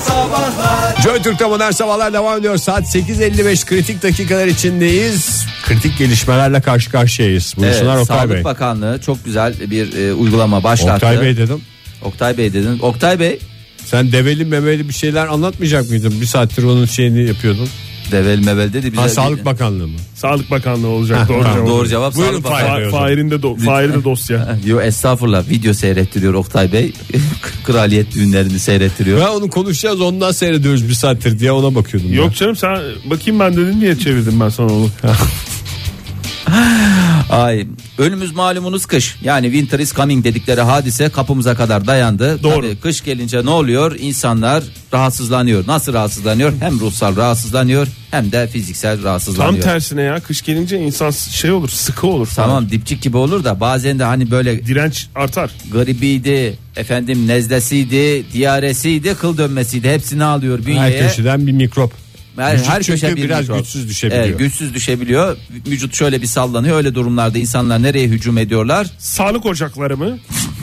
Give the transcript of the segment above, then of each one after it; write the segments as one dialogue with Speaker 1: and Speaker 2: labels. Speaker 1: Sabahlar
Speaker 2: Joy Türk'te modern sabahlar devam ediyor. Saat 8.55 kritik dakikalar içindeyiz. Kritik gelişmelerle karşı karşıyayız. Buyursunlar
Speaker 1: Evet,
Speaker 2: Oktay
Speaker 1: Sağlık
Speaker 2: Bey.
Speaker 1: Bakanlığı çok güzel bir e, uygulama başlattı.
Speaker 2: Oktay Bey dedim.
Speaker 1: Oktay Bey dedin. Oktay Bey
Speaker 2: Sen develi memeli bir şeyler anlatmayacak mıydın? Bir saattir onun şeyini yapıyordun.
Speaker 1: devel mevel dedi bize.
Speaker 2: Ha, Sağlık Bakanlığı mı?
Speaker 3: Sağlık Bakanlığı olacak doğru
Speaker 2: tamam,
Speaker 3: cevap.
Speaker 1: Doğru cevap
Speaker 2: Buyurun
Speaker 1: Sağlık
Speaker 2: Fahir.
Speaker 1: Bakanlığı.
Speaker 3: Fa- Fahir'in de, do- Fahir'in de dosya.
Speaker 1: Yo estağfurullah video seyrettiriyor Oktay Bey. Kraliyet düğünlerini seyrettiriyor.
Speaker 2: Ben onu konuşacağız ondan seyrediyoruz bir saattir diye ona bakıyordum.
Speaker 3: Yok canım sen bakayım ben dedim diye çevirdim ben sana onu.
Speaker 1: Ay önümüz malumunuz kış. Yani winter is coming dedikleri hadise kapımıza kadar dayandı.
Speaker 3: Doğru.
Speaker 1: Tabii kış gelince ne oluyor? İnsanlar rahatsızlanıyor. Nasıl rahatsızlanıyor? Hem ruhsal rahatsızlanıyor hem de fiziksel
Speaker 3: Tam
Speaker 1: rahatsızlanıyor.
Speaker 3: tersine ya kış gelince insan şey olur sıkı olur.
Speaker 1: Tamam dipçik gibi olur da bazen de hani böyle
Speaker 3: Direnç artar.
Speaker 1: gribiydi, efendim nezlesiydi, diyaresiydi, kıl dönmesiydi. Hepsini alıyor bünyeye.
Speaker 2: Her köşeden bir mikrop.
Speaker 1: Her,
Speaker 2: Vücut
Speaker 1: her
Speaker 2: çünkü
Speaker 1: köşe bir
Speaker 2: biraz
Speaker 1: mikrop.
Speaker 2: güçsüz düşebiliyor.
Speaker 1: Evet, güçsüz düşebiliyor. Vücut şöyle bir sallanıyor. Öyle durumlarda insanlar nereye hücum ediyorlar?
Speaker 3: Sağlık ocakları mı?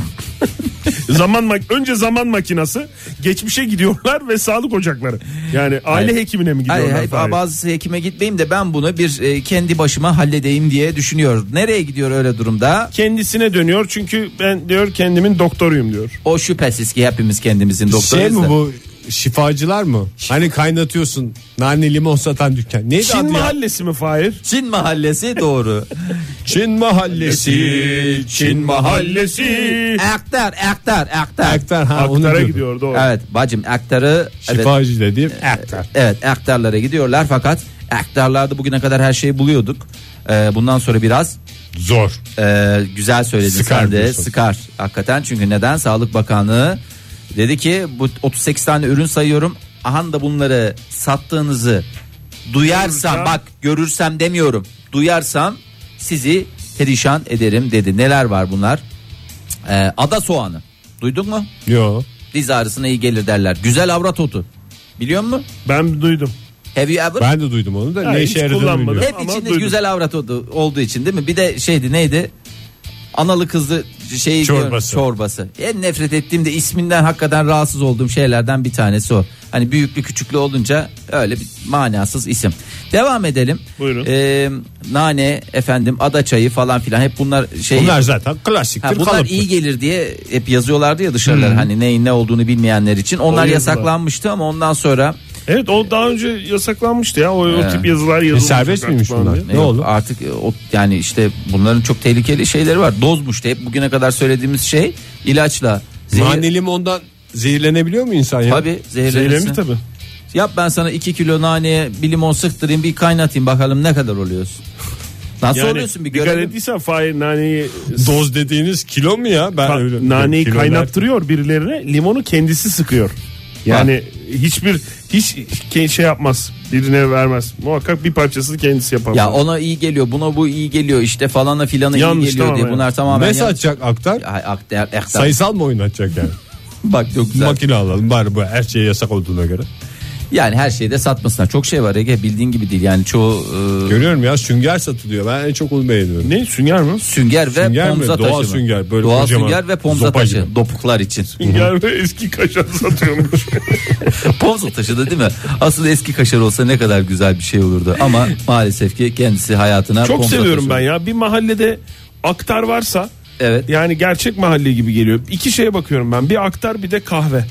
Speaker 3: zaman mak- önce zaman makinası geçmişe gidiyorlar ve sağlık ocakları. Yani aile
Speaker 1: Hayır.
Speaker 3: hekimine mi
Speaker 1: Ay,
Speaker 3: gidiyorlar?
Speaker 1: hay-
Speaker 3: Fahir?
Speaker 1: bazısı hekime gitmeyeyim de ben bunu bir e, kendi başıma halledeyim diye düşünüyor. Nereye gidiyor öyle durumda?
Speaker 3: Kendisine dönüyor çünkü ben diyor kendimin doktoruyum diyor.
Speaker 1: O şüphesiz ki hepimiz kendimizin doktoruyuz.
Speaker 2: şey mi
Speaker 1: da.
Speaker 2: bu şifacılar mı? Hani kaynatıyorsun nane limon satan dükkan. Neydi
Speaker 3: Çin
Speaker 2: adı ya?
Speaker 3: mahallesi mi Fahir?
Speaker 1: Çin mahallesi doğru.
Speaker 2: Çin mahallesi, Çin
Speaker 3: mahallesi.
Speaker 1: aktar, aktar, aktar.
Speaker 2: Aktar ha onu
Speaker 3: Aktara
Speaker 2: diyordum.
Speaker 3: gidiyor doğru.
Speaker 1: Evet bacım aktarı evet,
Speaker 2: Şifacı dediğim aktar.
Speaker 1: Evet aktarlara gidiyorlar fakat aktarlarda bugüne kadar her şeyi buluyorduk. Ee, bundan sonra biraz
Speaker 2: Zor.
Speaker 1: e, güzel söyledin
Speaker 2: Sıkar
Speaker 1: sen de
Speaker 2: diyorsun.
Speaker 1: sıkar hakikaten çünkü neden Sağlık Bakanlığı dedi ki bu 38 tane ürün sayıyorum ahan da bunları sattığınızı duyarsam
Speaker 3: Görürsem-
Speaker 1: bak görürsem demiyorum duyarsam sizi perişan ederim dedi neler var bunlar Ee, ada soğanı duydun mu
Speaker 2: Yo.
Speaker 1: diz ağrısına iyi gelir derler güzel avrat otu biliyor musun
Speaker 3: Ben duydum.
Speaker 1: Have you ever?
Speaker 2: Ben de duydum onu da
Speaker 3: Ya
Speaker 2: ne
Speaker 3: hiç
Speaker 2: işe yaradığını
Speaker 3: kullanmadım.
Speaker 2: bilmiyorum.
Speaker 1: Hep
Speaker 3: Ama
Speaker 1: içinde
Speaker 3: duydum.
Speaker 1: güzel avrat oldu, olduğu için değil mi? Bir de şeydi neydi? Analı kızlı şeyi
Speaker 2: Çorbası.
Speaker 1: çorbası. En nefret ettiğim de isminden hakikaten rahatsız olduğum şeylerden bir tanesi o. Hani büyüklü küçüklü olunca öyle bir manasız isim. Devam edelim.
Speaker 3: Buyurun.
Speaker 1: Ee, nane efendim ada çayı falan filan hep bunlar şey.
Speaker 2: Bunlar zaten klasiktir
Speaker 1: Ha, bunlar
Speaker 2: kalıptır.
Speaker 1: iyi gelir diye hep yazıyorlardı ya dışarılar hani neyin ne olduğunu bilmeyenler için. Onlar
Speaker 3: yazılar.
Speaker 1: yasaklanmıştı ama ondan sonra
Speaker 3: Evet o daha önce yasaklanmıştı ya o, o
Speaker 1: He.
Speaker 3: tip yazılar yazılmış.
Speaker 2: E, serbest miymiş bunlar? Ne
Speaker 1: Yok,
Speaker 2: oldu?
Speaker 1: Artık e, o, yani işte bunların çok tehlikeli şeyleri var. Dozmuştu hep bugüne kadar söylediğimiz şey ilaçla. Zehir,
Speaker 2: Nane limondan zehirlenebiliyor mu insan ya?
Speaker 1: Tabii zehirlenirsin.
Speaker 3: Zehirlenir tabii.
Speaker 1: Yap ben sana 2 kilo naneye bir limon sıktırayım bir kaynatayım bakalım ne kadar oluyorsun. Nasıl
Speaker 3: Yani
Speaker 1: oluyorsun bir
Speaker 3: dikkat
Speaker 1: görelim.
Speaker 3: ettiysen Fahir naneyi
Speaker 2: Doz dediğiniz kilo mu ya? Ben
Speaker 3: Ka-
Speaker 2: öyle-
Speaker 3: naneyi
Speaker 2: Kilolar-
Speaker 3: kaynattırıyor birilerine limonu kendisi sıkıyor. Yani hiçbir hiç ke- şey yapmaz birine vermez. Muhakkak bir parçasını kendisi yapar.
Speaker 1: Ya ona iyi geliyor buna bu iyi geliyor işte falana filana
Speaker 3: Yanlış,
Speaker 1: iyi geliyor
Speaker 3: tamam
Speaker 1: diye
Speaker 3: yani.
Speaker 1: bunlar tamamen yanlış.
Speaker 2: Ne satacak aktar?
Speaker 1: Ay, ak- der- ektar.
Speaker 2: Sayısal mı oynatacak yani?
Speaker 1: Bak çok güzel.
Speaker 2: Makine alalım bari bu her şey yasak olduğuna göre.
Speaker 1: Yani her şeyi de satmasınlar. Çok şey var Ege bildiğin gibi değil. Yani çoğu e,
Speaker 2: Görüyorum ya sünger satılıyor. Ben en çok onu beğeniyorum.
Speaker 3: Ne sünger mi?
Speaker 1: sünger ve
Speaker 2: Sünger mi?
Speaker 1: pomza taşı.
Speaker 2: Doğal
Speaker 1: mı?
Speaker 2: sünger, böyle
Speaker 1: Doğal
Speaker 2: kocaman
Speaker 1: sünger ve pomza
Speaker 2: zopa
Speaker 1: taşı.
Speaker 2: gibi.
Speaker 1: Dopuklar için.
Speaker 3: Sünger ve eski kaşar satıyormuş.
Speaker 1: pomza taşı da değil mi? Asıl eski kaşar olsa ne kadar güzel bir şey olurdu. Ama maalesef ki kendisi hayatına
Speaker 3: Çok
Speaker 1: pomza
Speaker 3: seviyorum
Speaker 1: taşı-
Speaker 3: ben ya. Bir mahallede aktar varsa
Speaker 1: Evet.
Speaker 3: yani gerçek mahalle gibi geliyor. İki şeye bakıyorum ben. Bir aktar bir de kahve.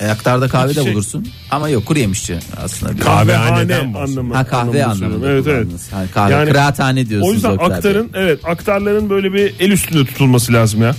Speaker 1: E, aktarda kahve de
Speaker 3: Şey-
Speaker 1: bulursun. Ama yok kuru yemişçi aslında. Bir.
Speaker 2: Kahvehaneden bahsediyor.
Speaker 3: anlamı.
Speaker 1: Ha kahve
Speaker 3: anlamında
Speaker 1: anlamında.
Speaker 3: söylüyorum. Evet evet.
Speaker 1: kullandınız. Yani kahve
Speaker 3: Yani
Speaker 1: kıraathane diyorsunuz.
Speaker 3: O yüzden
Speaker 1: Oktay Bey.
Speaker 3: aktarın evet aktarların böyle bir el üstünde tutulması lazım ya.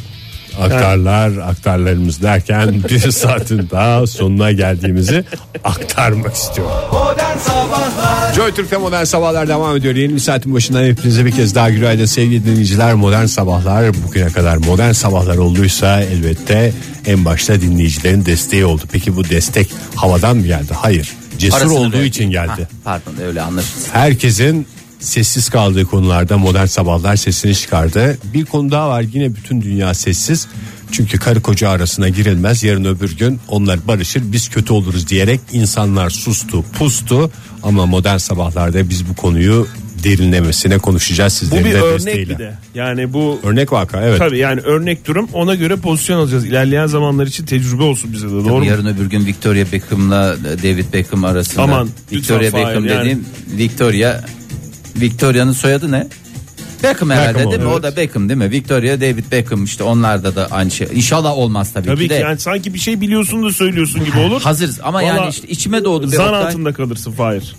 Speaker 2: Aktarlar aktarlarımız derken bir saatin daha sonuna geldiğimizi aktarmak istiyorum.
Speaker 1: Modern Sabahlar.
Speaker 2: Joy Türk'te modern sabahlar devam ediyor. Yeni bir saatin başından hepinize bir kez daha günaydın sevgili dinleyiciler. Modern sabahlar bugüne kadar modern sabahlar olduysa elbette en başta dinleyicilerin desteği oldu. Peki bu destek havadan mı geldi? Hayır. Cesur
Speaker 1: Parasını
Speaker 2: olduğu
Speaker 1: verdi.
Speaker 2: için geldi.
Speaker 1: Ha, pardon öyle anlaşılsın.
Speaker 2: Herkesin sessiz kaldığı konularda modern sabahlar sesini çıkardı. Bir konu daha var yine bütün dünya sessiz. Çünkü karı koca arasına girilmez. Yarın öbür gün onlar barışır biz kötü oluruz diyerek insanlar sustu pustu. Ama modern sabahlarda biz bu konuyu derinlemesine konuşacağız
Speaker 3: Bu
Speaker 2: sizlerin
Speaker 3: bir
Speaker 2: de
Speaker 3: örnek
Speaker 2: desteğiyle.
Speaker 3: bir de. Yani bu
Speaker 2: Örnek vaka evet.
Speaker 3: tabii yani örnek durum ona göre pozisyon alacağız. İlerleyen zamanlar için tecrübe olsun bize de doğru mu?
Speaker 1: Yarın öbür gün Victoria Beckham'la e, David Beckham arasında.
Speaker 3: Aman,
Speaker 1: Victoria
Speaker 3: lütfen
Speaker 1: Beckham
Speaker 3: Fahir, yani.
Speaker 1: dediğim Victoria Victoria'nın soyadı ne? Beckham herhalde
Speaker 2: Beckham
Speaker 1: değil mi?
Speaker 2: oldu,
Speaker 1: O da Beckham değil mi? Victoria David Beckham işte onlarda da aynı şey. İnşallah olmaz tabii,
Speaker 3: Tabii
Speaker 1: ki de.
Speaker 3: ki yani sanki bir şey biliyorsun da söylüyorsun gibi olur.
Speaker 1: Hazırız ama yani
Speaker 3: Valla
Speaker 1: işte içime doğdu. bir
Speaker 3: Zan
Speaker 1: Oktay.
Speaker 3: altında kalırsın Fahir.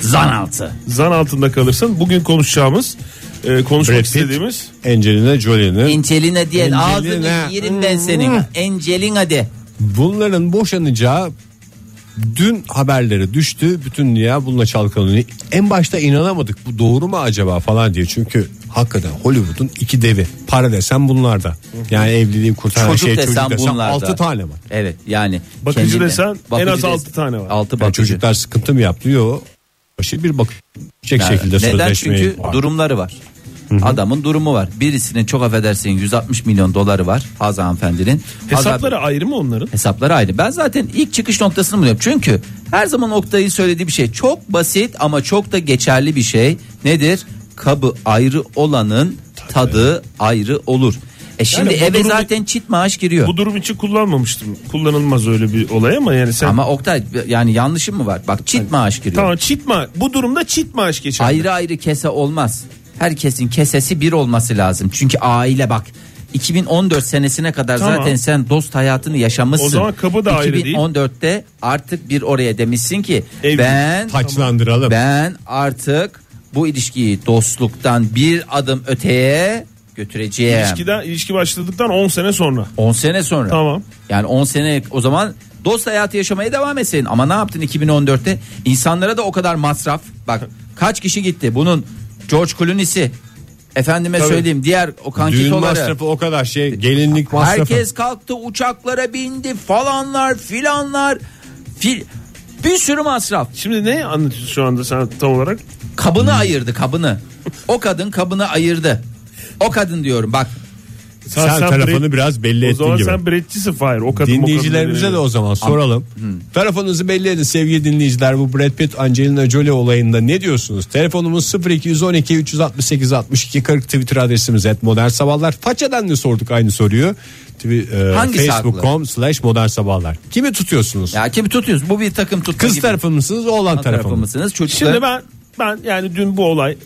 Speaker 1: Zan altı.
Speaker 3: Zan altında kalırsın. Bugün konuşacağımız, e, konuşmak
Speaker 2: Brad Pitt.
Speaker 3: istediğimiz
Speaker 2: Angelina Jolie'nin
Speaker 1: Angelina diyen
Speaker 2: Angelina. Hmm.
Speaker 1: ağzını yerim ben senin. Angelina de.
Speaker 2: bunların boşanacağı dün haberleri düştü. Bütün dünya bununla çalkalanıyor. En başta inanamadık bu doğru mu acaba falan diye. Çünkü hakikaten Hollywood'un iki devi. Para desen bunlar da. Yani evliliği kurtaran
Speaker 1: Çocuk
Speaker 2: şey
Speaker 1: desen
Speaker 2: çocuk desen
Speaker 1: bunlar da.
Speaker 2: 6 tane var.
Speaker 1: Evet yani.
Speaker 3: Bakıcı
Speaker 1: kendine-
Speaker 3: desen en az
Speaker 1: des-
Speaker 3: altı tane var.
Speaker 1: Altı
Speaker 2: Yani
Speaker 1: bakıcı.
Speaker 2: çocuklar sıkıntı mı yaptı? Yok. Başı bir bakacak şekilde
Speaker 1: Neden?
Speaker 2: sözleşmeyi.
Speaker 1: Çünkü durumları var. Adamın durumu var. Birisinin çok affedersin 160 milyon doları var Hazan hanımefendinin. Hazan-
Speaker 3: hesapları ayrı mı onların?
Speaker 1: hesapları ayrı. Ben zaten ilk çıkış noktasını buluyorum. Çünkü her zaman Oktay'ın söylediği bir şey çok basit ama çok da geçerli bir şey. Nedir? Kabı ayrı olanın tadı ayrı olur. E şimdi
Speaker 3: Yani bu
Speaker 1: eve
Speaker 3: durum-
Speaker 1: zaten çit maaş giriyor.
Speaker 3: Bu durum için kullanmamıştım. Kullanılmaz öyle bir olay ama yani sen
Speaker 1: Ama Oktay yani yanlışım mı var? Bak çit maaş giriyor.
Speaker 3: tamam çit ma bu durumda çit maaş geçer.
Speaker 1: Ayrı ayrı kese olmaz. Herkesin kesesi bir olması lazım. Çünkü aile bak 2014 senesine kadar
Speaker 3: Tamam.
Speaker 1: zaten sen dost hayatını yaşamışsın.
Speaker 3: O zaman kabı da ayrı değil.
Speaker 1: 2014'te artık bir oraya demişsin ki
Speaker 3: Evlilik,
Speaker 1: ben
Speaker 2: Taçlandıralım.
Speaker 1: ben artık bu ilişkiyi dostluktan bir adım öteye götüreceğim.
Speaker 3: İlişkiden ilişki başladıktan 10 sene sonra.
Speaker 1: 10 sene sonra.
Speaker 3: Tamam.
Speaker 1: Yani 10 sene o zaman dost hayatı yaşamaya devam etseydin. Ama ne yaptın 2014'te? İnsanlara da o kadar masraf. Bak kaç kişi gitti? Bunun George Clooney'si. Efendime
Speaker 3: Tabii.
Speaker 1: söyleyeyim diğer o
Speaker 2: Düğün
Speaker 1: kankitoları.
Speaker 2: masrafı o kadar şey. Gelinlik masrafı.
Speaker 1: Herkes kalktı uçaklara bindi falanlar filanlar. Fil... Bir sürü masraf.
Speaker 3: Şimdi ne anlatıyorsun şu anda sen tam olarak?
Speaker 1: Kabını
Speaker 2: Hmm.
Speaker 1: ayırdı kabını. O kadın kabını ayırdı. O kadın diyorum bak.
Speaker 2: Sen, tarafını
Speaker 3: Brad-
Speaker 2: biraz belli
Speaker 3: O zaman
Speaker 2: ettin gibi.
Speaker 3: sen Brad'cisin Fahir. O kadın
Speaker 2: Dinleyicilerimize de o zaman soralım. Tarafınızı belli edin sevgili dinleyiciler. Bu Brad Pitt Angelina Jolie olayında ne diyorsunuz? Telefonumuz 0212 368 62 40 Twitter adresimiz et modern sabahlar. Façeden de sorduk aynı soruyu. e,
Speaker 1: Hangisi
Speaker 2: Facebook.com slash modern sabahlar. Kimi tutuyorsunuz?
Speaker 1: Ya kim tutuyoruz? Bu bir takım tutma
Speaker 2: Kız
Speaker 1: gibi.
Speaker 2: tarafı mısınız oğlan tarafı
Speaker 1: tarafı
Speaker 2: mı?
Speaker 1: mısınız? Çocuklar...
Speaker 3: Şimdi ben ben yani dün bu olay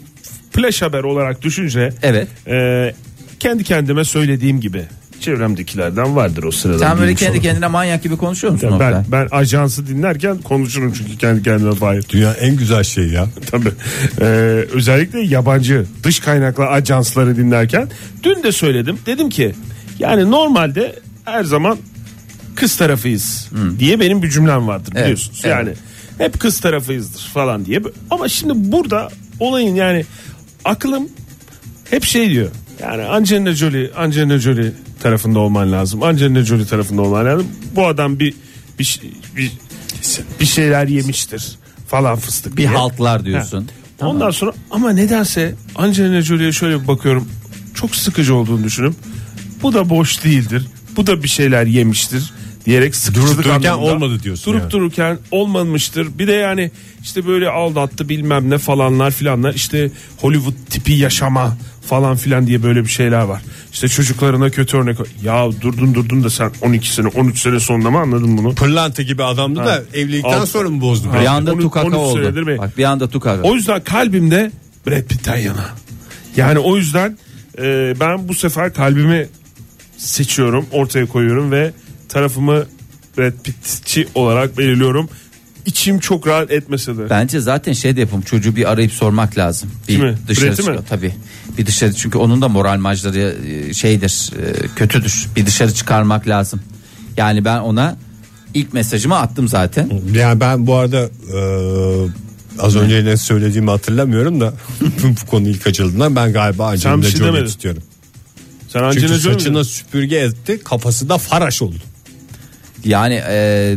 Speaker 3: flash haber olarak düşünce
Speaker 1: Evet.
Speaker 3: e, kendi kendime söylediğim gibi çevremdekilerden vardır o sırada.
Speaker 1: Sen böyle
Speaker 3: benim
Speaker 1: kendi
Speaker 3: sorun.
Speaker 1: kendine manyak gibi konuşuyor musun
Speaker 3: Ya
Speaker 1: Oktay?
Speaker 3: ben, ben ajansı dinlerken konuşurum çünkü kendi kendime Fahir.
Speaker 2: Dünya en güzel şey ya.
Speaker 3: Tabii. Ee, özellikle yabancı dış kaynaklı ajansları dinlerken dün de söyledim. Dedim ki yani normalde her zaman kız tarafıyız diye benim bir cümlem vardır
Speaker 1: Evet,
Speaker 3: biliyorsunuz.
Speaker 1: evet.
Speaker 3: Yani hep kız tarafıyızdır falan diye. Ama şimdi burada olayın yani aklım hep şey diyor. Yani Angelina Jolie, Angelina Jolie tarafında olman lazım. Angelina Jolie tarafında olman lazım. Bu adam bir bir şey- bir, bir şeyler yemiştir falan fıstık.
Speaker 1: Bir
Speaker 3: diye.
Speaker 1: haltlar diyorsun.
Speaker 3: Ha.
Speaker 1: Tamam.
Speaker 3: Ondan sonra ama nedense Angelina Jolie'ye şöyle bir bakıyorum. Çok sıkıcı olduğunu düşünüp bu da boş değildir. Bu da bir şeyler yemiştir diyerek sıkıcılık
Speaker 2: Durup dururken
Speaker 3: anlamında-
Speaker 2: olmadı diyorsun
Speaker 3: Durup
Speaker 2: yani.
Speaker 3: dururken olmamıştır. Bir de yani işte böyle aldattı bilmem ne falanlar filanlar işte Hollywood tipi yaşama falan filan diye böyle bir şeyler var. İşte çocuklarına kötü örnek. Ya durdun durdun da sen 12 sene 13 sene sonunda mı anladın bunu?
Speaker 2: Pırlanta gibi adamdı da
Speaker 3: Ha.
Speaker 2: evlilikten
Speaker 3: Alt-
Speaker 2: sonra mı bozdu?
Speaker 1: Bir
Speaker 2: Brad
Speaker 1: anda
Speaker 3: Onu-
Speaker 1: tukaka
Speaker 3: onu
Speaker 1: oldu.
Speaker 3: söyledim mi?
Speaker 1: Bak bir anda tukaka.
Speaker 3: O yüzden kalbimde Brad Pitt'ten yana. Yani o yüzden e, ben bu sefer kalbimi seçiyorum, ortaya koyuyorum ve tarafımı Brad Pitt'çi olarak belirliyorum. İçim çok rahat etmese de.
Speaker 1: Bence zaten şey de yapım çocuğu bir arayıp sormak lazım. Bir
Speaker 3: Kimi?
Speaker 1: dışarı
Speaker 3: Brett'i mi?
Speaker 1: çıkıyor tabii. Bir dışarı çünkü onun da moral macları e, şeydir e, kötüdür. Bir dışarı çıkarmak lazım. Yani ben ona ilk mesajımı attım zaten.
Speaker 2: Yani ben bu arada e, az önce ne söylediğimi hatırlamıyorum da bu konu ilk açıldığından ben galiba Angelina
Speaker 3: bir şey
Speaker 2: Jolie
Speaker 3: demedin.
Speaker 2: tutuyorum.
Speaker 3: Sen
Speaker 2: Çünkü
Speaker 3: Angelina Jolie
Speaker 2: saçına
Speaker 3: mi?
Speaker 2: süpürge etti kafası da faraş oldu.
Speaker 1: Yani e,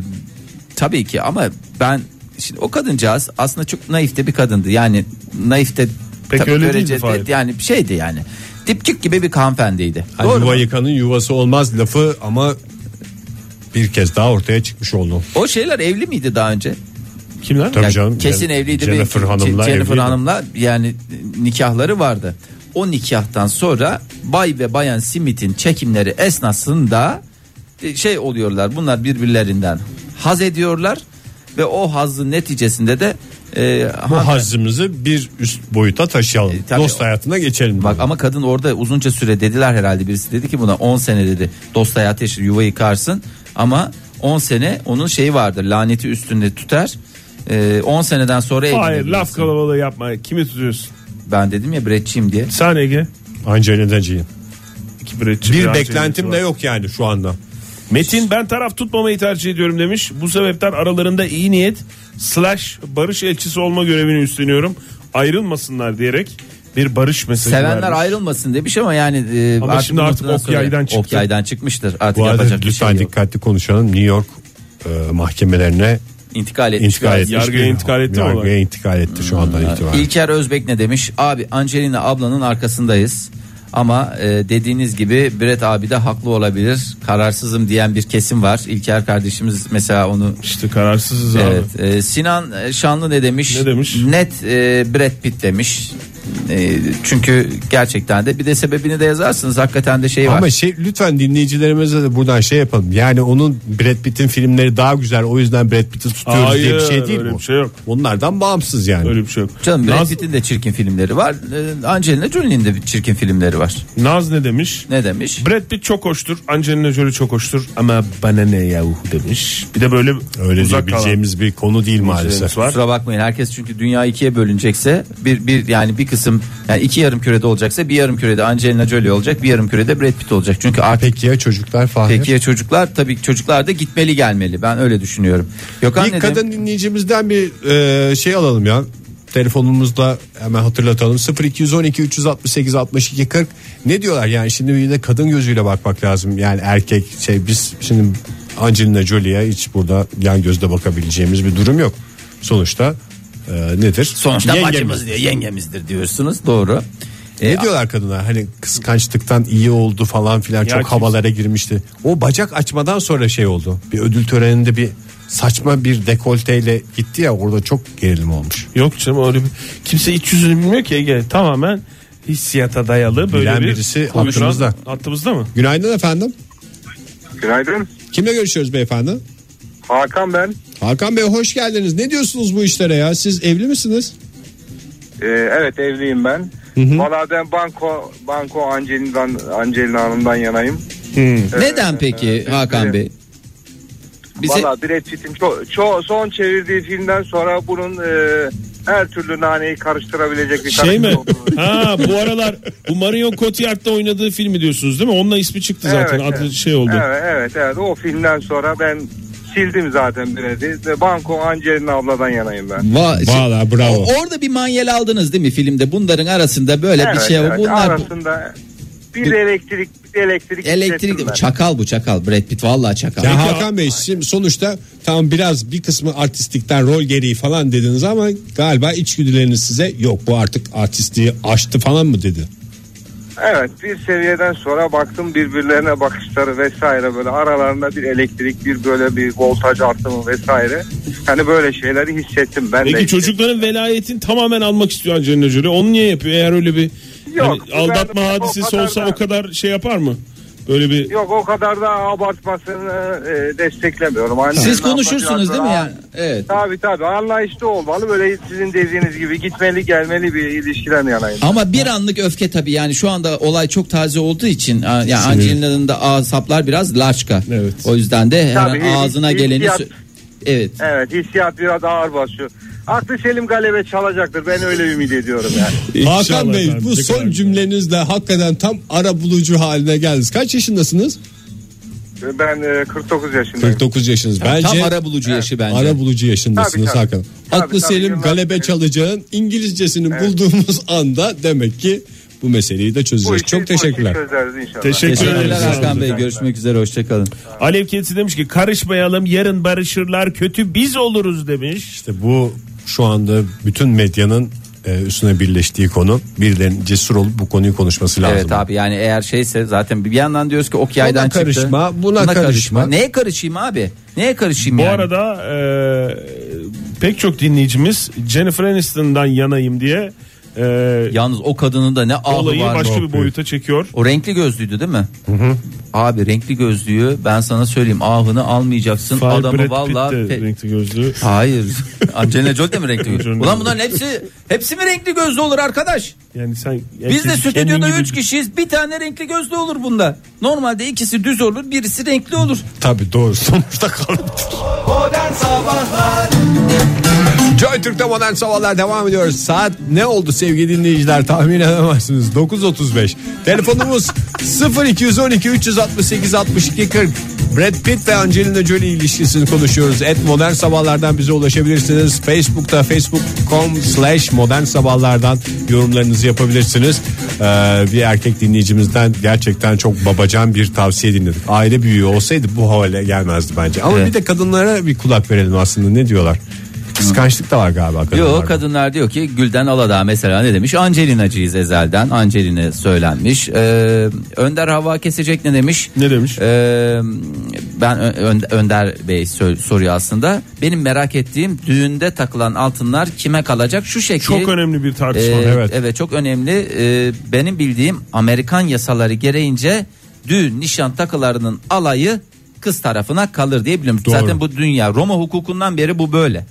Speaker 1: tabii ki ama ben şimdi o kadıncağız aslında çok naif de bir kadındı. Yani naif de
Speaker 3: Pek
Speaker 1: tabii
Speaker 3: öyle değildi
Speaker 1: derecede-
Speaker 3: Fahir.
Speaker 1: yani şeydi yani. Dipçik gibi bir hanımefendiydi.
Speaker 2: Hani
Speaker 1: Doğru mu?
Speaker 2: yuva yıkanın yuvası olmaz lafı ama bir kez daha ortaya çıkmış oldu.
Speaker 1: O şeyler evli miydi daha önce?
Speaker 3: Kimler?
Speaker 2: Tabii
Speaker 1: Yani
Speaker 2: canım.
Speaker 1: kesin evliydi. bir-
Speaker 2: Jennifer
Speaker 1: Ce-
Speaker 2: Hanım'la
Speaker 1: Jennifer
Speaker 2: evliydi.
Speaker 1: Hanım'la yani nikahları vardı. O nikahtan sonra Bay ve Bayan Smith'in çekimleri esnasında e, şey oluyorlar. Bunlar birbirlerinden haz ediyorlar ve o hazın neticesinde de e,
Speaker 2: Bu
Speaker 1: ha-
Speaker 2: hazımızı bir üst boyuta taşıyalım.
Speaker 1: E, tabii.
Speaker 2: Dost hayatına geçelim.
Speaker 1: Bak
Speaker 2: dedi.
Speaker 1: ama kadın orada uzunca süre dediler herhalde birisi dedi ki buna 10 sene dedi dost hayatı yaşa yuva yıkarsın ama 10 sene onun şeyi vardır laneti üstünde tutar Ee, 10 seneden sonra
Speaker 3: Hayır
Speaker 1: evlenebilirsin.
Speaker 3: laf kalabalığı yapma. Kimi tutuyorsun?
Speaker 1: Ben dedim ya Brett'çiyim diye.
Speaker 3: Sen Ege.
Speaker 2: Angelina Jolie.
Speaker 3: İki biletçi,
Speaker 2: Bir
Speaker 3: an
Speaker 2: beklentim
Speaker 3: çevresi
Speaker 2: de
Speaker 3: var.
Speaker 2: yok yani şu anda.
Speaker 3: Metin ben taraf tutmamayı tercih ediyorum demiş. Bu sebepten aralarında iyi niyet slash barış elçisi olma görevini üstleniyorum. Ayrılmasınlar diyerek bir barış mesajı
Speaker 1: Sevenler
Speaker 3: vermiş.
Speaker 1: ayrılmasın demiş ama yani e,
Speaker 3: Ama şimdi
Speaker 1: bu
Speaker 3: artık
Speaker 1: noktadan
Speaker 3: ok
Speaker 1: sonra-
Speaker 3: yaydan çıktı.
Speaker 1: Ok yaydan çıkmıştır. Artık
Speaker 2: Bu arada
Speaker 1: yapacak bir şey
Speaker 2: lütfen
Speaker 1: yok.
Speaker 2: dikkatli konuşalım. New York e, mahkemelerine
Speaker 1: İntikal etmiş.
Speaker 2: intikal etmiş.
Speaker 3: Yargıya
Speaker 2: bir-
Speaker 3: intikal etti mi
Speaker 2: Yargıya
Speaker 3: olay?
Speaker 2: intikal etti şu andan itibaren.
Speaker 1: İlker Özbek ne demiş? Abi Angelina ablanın arkasındayız. Ama e, dediğiniz gibi Brett abi de haklı olabilir. Kararsızım diyen bir kesim var. İlker kardeşimiz mesela onu
Speaker 3: İşte kararsızız abi.
Speaker 1: Evet, e, Sinan Şanlı ne demiş?
Speaker 3: Ne demiş?
Speaker 1: Net e, Brad Pitt demiş. E, çünkü gerçekten de bir de sebebini de yazarsınız. Hakikaten de şey var.
Speaker 2: Ama şey lütfen dinleyicilerimize de buradan şey yapalım. Yani onun Brad Pitt'in filmleri daha güzel o yüzden Brad Pitt'i tutuyoruz diye bir
Speaker 3: Hayır,
Speaker 2: şey değil
Speaker 3: öyle
Speaker 2: bu.
Speaker 3: bir şey yok.
Speaker 2: Onlardan bağımsız yani.
Speaker 3: Öyle bir şey yok.
Speaker 1: Canım Brad
Speaker 3: Naz,
Speaker 1: Pitt'in de çirkin filmleri var. E, Angelina Jolie'nin de bir çirkin filmleri var.
Speaker 3: Naz ne demiş?
Speaker 1: Ne demiş?
Speaker 3: Brad Pitt çok hoştur. Angelina Jolie çok hoştur. Ama bana ne yahu demiş. Bir de böyle
Speaker 2: Öyle
Speaker 3: uzak kalan.
Speaker 2: diyebileceğimiz bir konu değil maalesef.
Speaker 3: var.
Speaker 1: Kusura bakmayın herkes çünkü dünya ikiye bölünecekse bir, bir yani bir kısım yani iki yarım kürede olacaksa bir yarım kürede Angelina Jolie olacak bir yarım kürede Brad Pitt olacak. Çünkü artık
Speaker 2: Peki ya çocuklar Fahir?
Speaker 1: peki ya çocuklar tabii ki çocuklar da gitmeli gelmeli ben öyle düşünüyorum. Gökhan ne
Speaker 2: Bir
Speaker 1: demiş?
Speaker 2: kadın dinleyicimizden bir e, şey alalım ya. Telefonumuzda hemen hatırlatalım 0212 368 62 40 ne diyorlar yani şimdi bir de kadın gözüyle bakmak lazım yani erkek şey biz şimdi Angelina Jolie'ye hiç burada yan gözle bakabileceğimiz bir durum yok sonuçta e, nedir
Speaker 1: Sonuçta
Speaker 2: Yengemiz.
Speaker 1: bacımız diyor, yengemizdir diyorsunuz. Doğru. E,
Speaker 2: ne diyorlar kadına hani kıskançlıktan iyi oldu falan filan çok
Speaker 3: kimse-
Speaker 2: havalara girmişti o bacak açmadan sonra şey oldu bir ödül töreninde bir saçma bir dekolteyle gitti ya orada çok gerilim olmuş.
Speaker 3: Yok canım öyle bir... Kimse iç yüzünü bilmiyor ki Ege. Tamamen hissiyata dayalı böyle
Speaker 2: Bilen
Speaker 3: bir
Speaker 2: birisi
Speaker 3: konuşan-
Speaker 2: hattımızda.
Speaker 3: Hattımızda mı?
Speaker 2: Günaydın efendim.
Speaker 4: Günaydın.
Speaker 2: Kimle görüşüyoruz beyefendi?
Speaker 4: Hakan ben.
Speaker 2: Hakan Bey hoş geldiniz. Ne diyorsunuz bu işlere ya? Siz evli misiniz?
Speaker 4: Ee, evet evliyim ben. Valla ben banko, banko Angelina'dan, Angelina Hanım'dan yanayım.
Speaker 1: neden peki Hakan Bey? Bize
Speaker 4: Valla Brad Pitt'in ço- ço- son çevirdiği filmden sonra bunun e, her türlü naneyi karıştırabilecek bir
Speaker 3: Şey mi?
Speaker 4: karakter olduğunu-
Speaker 3: ha bu aralar bu Marion Cotillard'da oynadığı filmi diyorsunuz değil mi? Onunla ismi çıktı zaten.
Speaker 4: Evet,
Speaker 3: Adı
Speaker 4: evet.
Speaker 3: şey oldu.
Speaker 4: Evet, evet evet o filmden sonra ben sildim zaten Brad'i. Ve banko Angelina abladan yanayım ben.
Speaker 1: Va- şey,
Speaker 2: Valla bravo.
Speaker 1: O- Orada bir manyel aldınız değil mi filmde? Bunların arasında böyle bir
Speaker 4: evet,
Speaker 1: şey var.
Speaker 4: evet.
Speaker 1: Bunlar bu-
Speaker 4: Arasında bir elektrik bir elektrik hissettim
Speaker 1: elektrik
Speaker 4: ben.
Speaker 1: çakal bu çakal. Brad Pitt vallahi çakal.
Speaker 2: Ya Hakan Bey şimdi sonuçta tam biraz bir kısmı artistlikten rol gereği falan dediniz ama galiba içgüdüleriniz size yok bu artık artistliği aştı falan mı dedi?
Speaker 4: Evet bir seviyeden sonra baktım birbirlerine bakışları vesaire böyle aralarında bir elektrik bir böyle bir voltaj artımı vesaire. Hani böyle şeyleri hissettim ben de.
Speaker 3: Peki çocukların velayetini tamamen almak istiyor Angelina Jolie. Onu niye yapıyor? Eğer öyle bir
Speaker 4: Yok,
Speaker 3: hani
Speaker 4: ben
Speaker 3: aldatma
Speaker 4: o
Speaker 3: hadisesi
Speaker 4: kadar
Speaker 3: olsa
Speaker 4: da-
Speaker 3: o kadar şey yapar mı? Böyle bir
Speaker 4: Yok o kadar da abartmasını e, desteklemiyorum. Annenin
Speaker 1: Siz
Speaker 4: abla
Speaker 1: konuşursunuz
Speaker 4: biraz
Speaker 1: değil mi
Speaker 4: daha-
Speaker 1: yani? Evet.
Speaker 4: Tabii tabii anlayışlı olmalı böyle sizin dediğiniz gibi gitmeli gelmeli bir ilişkiden yanayım.
Speaker 1: Ama bir anlık öfke tabii yani şu anda olay çok taze olduğu için a- yani
Speaker 2: Sinir.
Speaker 1: Angelina'nın da ağızlar biraz larçka.
Speaker 3: Evet.
Speaker 1: O yüzden de her
Speaker 4: Tabii,
Speaker 1: an ağzına
Speaker 4: hissiyat-
Speaker 1: geleni sö- Evet.
Speaker 4: Evet hissiyat biraz ağır basıyor. Aklı Selim galebe çalacaktır ben öyle ümit ediyorum yani.
Speaker 2: Hakan
Speaker 3: İnşallah
Speaker 2: Bey
Speaker 3: efendim,
Speaker 2: bu
Speaker 3: ne
Speaker 2: son
Speaker 3: kadar-
Speaker 2: cümlenizle hakikaten tam ara bulucu haline geldiniz. Kaç yaşındasınız?
Speaker 4: Ben e, 49 yaşındayım.
Speaker 2: 49 yaşınız. Bence e,
Speaker 1: Tam ara bulucu yaşı bence.
Speaker 2: Ara bulucu yaşındasınız
Speaker 4: Tabii, tabii.
Speaker 2: Hakan.
Speaker 4: Tabii,
Speaker 2: Aklı
Speaker 4: tabii,
Speaker 2: Selim
Speaker 4: yıllar-
Speaker 2: galebe çalacağın İngilizcesini bulduğumuz anda demek ki bu meseleyi de
Speaker 4: Bu
Speaker 2: çözeceğiz.
Speaker 4: işi- bu
Speaker 2: Çok
Speaker 4: işi
Speaker 2: teşekkürler.
Speaker 4: çözeriz inşallah.
Speaker 3: teşekkür
Speaker 1: Teşekkürler
Speaker 3: ederiz.
Speaker 1: Hakan Bey. Görüşmek üzere. Hoşçakalın.
Speaker 3: Alev Kedisi demiş ki karışmayalım yarın barışırlar kötü biz oluruz demiş.
Speaker 2: İşte bu şu anda bütün medyanın e, üstüne birleştiği konu. Birilerinin cesur olup bu konuyu konuşması lazım.
Speaker 1: Evet abi yani eğer şeyse zaten bir yandan diyoruz ki ok yaydan çıktı.
Speaker 2: karışma, buna karışma.
Speaker 1: Neye karışayım abi? Neye karışayım
Speaker 3: Bu
Speaker 1: yani?
Speaker 3: arada e, pek çok dinleyicimiz Jennifer Aniston'dan yanayım diye e,
Speaker 1: Yalnız o kadının da ne ağlı
Speaker 3: olayı
Speaker 1: var.
Speaker 3: başka bir boyuta çekiyor.
Speaker 1: O renkli gözlüydü değil mi? Abi renkli gözlüğü ben sana söyleyeyim ahını almayacaksın
Speaker 3: Fahir Brad
Speaker 1: adamı
Speaker 3: Pitt
Speaker 1: valla.
Speaker 3: de renkli gözlü.
Speaker 1: Hayır. Angelina Jolie de mi renkli gözlü?
Speaker 3: Jolie.
Speaker 1: Ulan bunların hepsi hepsi mi renkli gözlü olur arkadaş?
Speaker 3: Yani sen
Speaker 1: Biz de
Speaker 3: herkes
Speaker 1: stüdyoda
Speaker 3: kendin gibi
Speaker 1: 3 kişiyiz. Bir tane renkli gözlü olur bunda. Normalde ikisi düz olur, birisi renkli olur.
Speaker 2: Tabii doğru sonuçta kalıptır. Joy Türk'te modern sabahlar devam ediyor. Saat ne oldu sevgili dinleyiciler tahmin edemezsiniz. 9.35. Telefonumuz 0212 368 62 40. Brad Pitt ve Angelina Jolie ilişkisini konuşuyoruz. Et modern sabahlardan bize ulaşabilirsiniz. Facebook'ta facebook.com slash modern sabahlardan yorumlarınızı yapabilirsiniz. Ee, bir erkek dinleyicimizden gerçekten çok babacan bir tavsiye dinledik. Aile büyüğü olsaydı bu hale gelmezdi bence. Ama
Speaker 1: Evet.
Speaker 2: bir de kadınlara bir kulak verelim aslında ne diyorlar? Kıskançlık da var galiba kadınlarda.
Speaker 1: Yok kadınlar diyor ki Gülden Aladağ mesela ne demiş? Angelina'cıyız ezelden. Angelina söylenmiş. Ee, Önder Hava Kesecek ne demiş?
Speaker 3: Ne demiş?
Speaker 1: Ee, ben Ö- Ö- Önder Bey sö- soruyor aslında. Benim merak ettiğim düğünde takılan altınlar kime kalacak? Şu şekil.
Speaker 3: Çok önemli bir tartışma.
Speaker 1: Ee,
Speaker 3: evet.
Speaker 1: evet. çok önemli. Ee, benim bildiğim Amerikan yasaları gereğince düğün nişan takılarının alayı kız tarafına kalır diye biliyorum.
Speaker 2: Doğru.
Speaker 1: Zaten bu dünya Roma hukukundan beri bu böyle.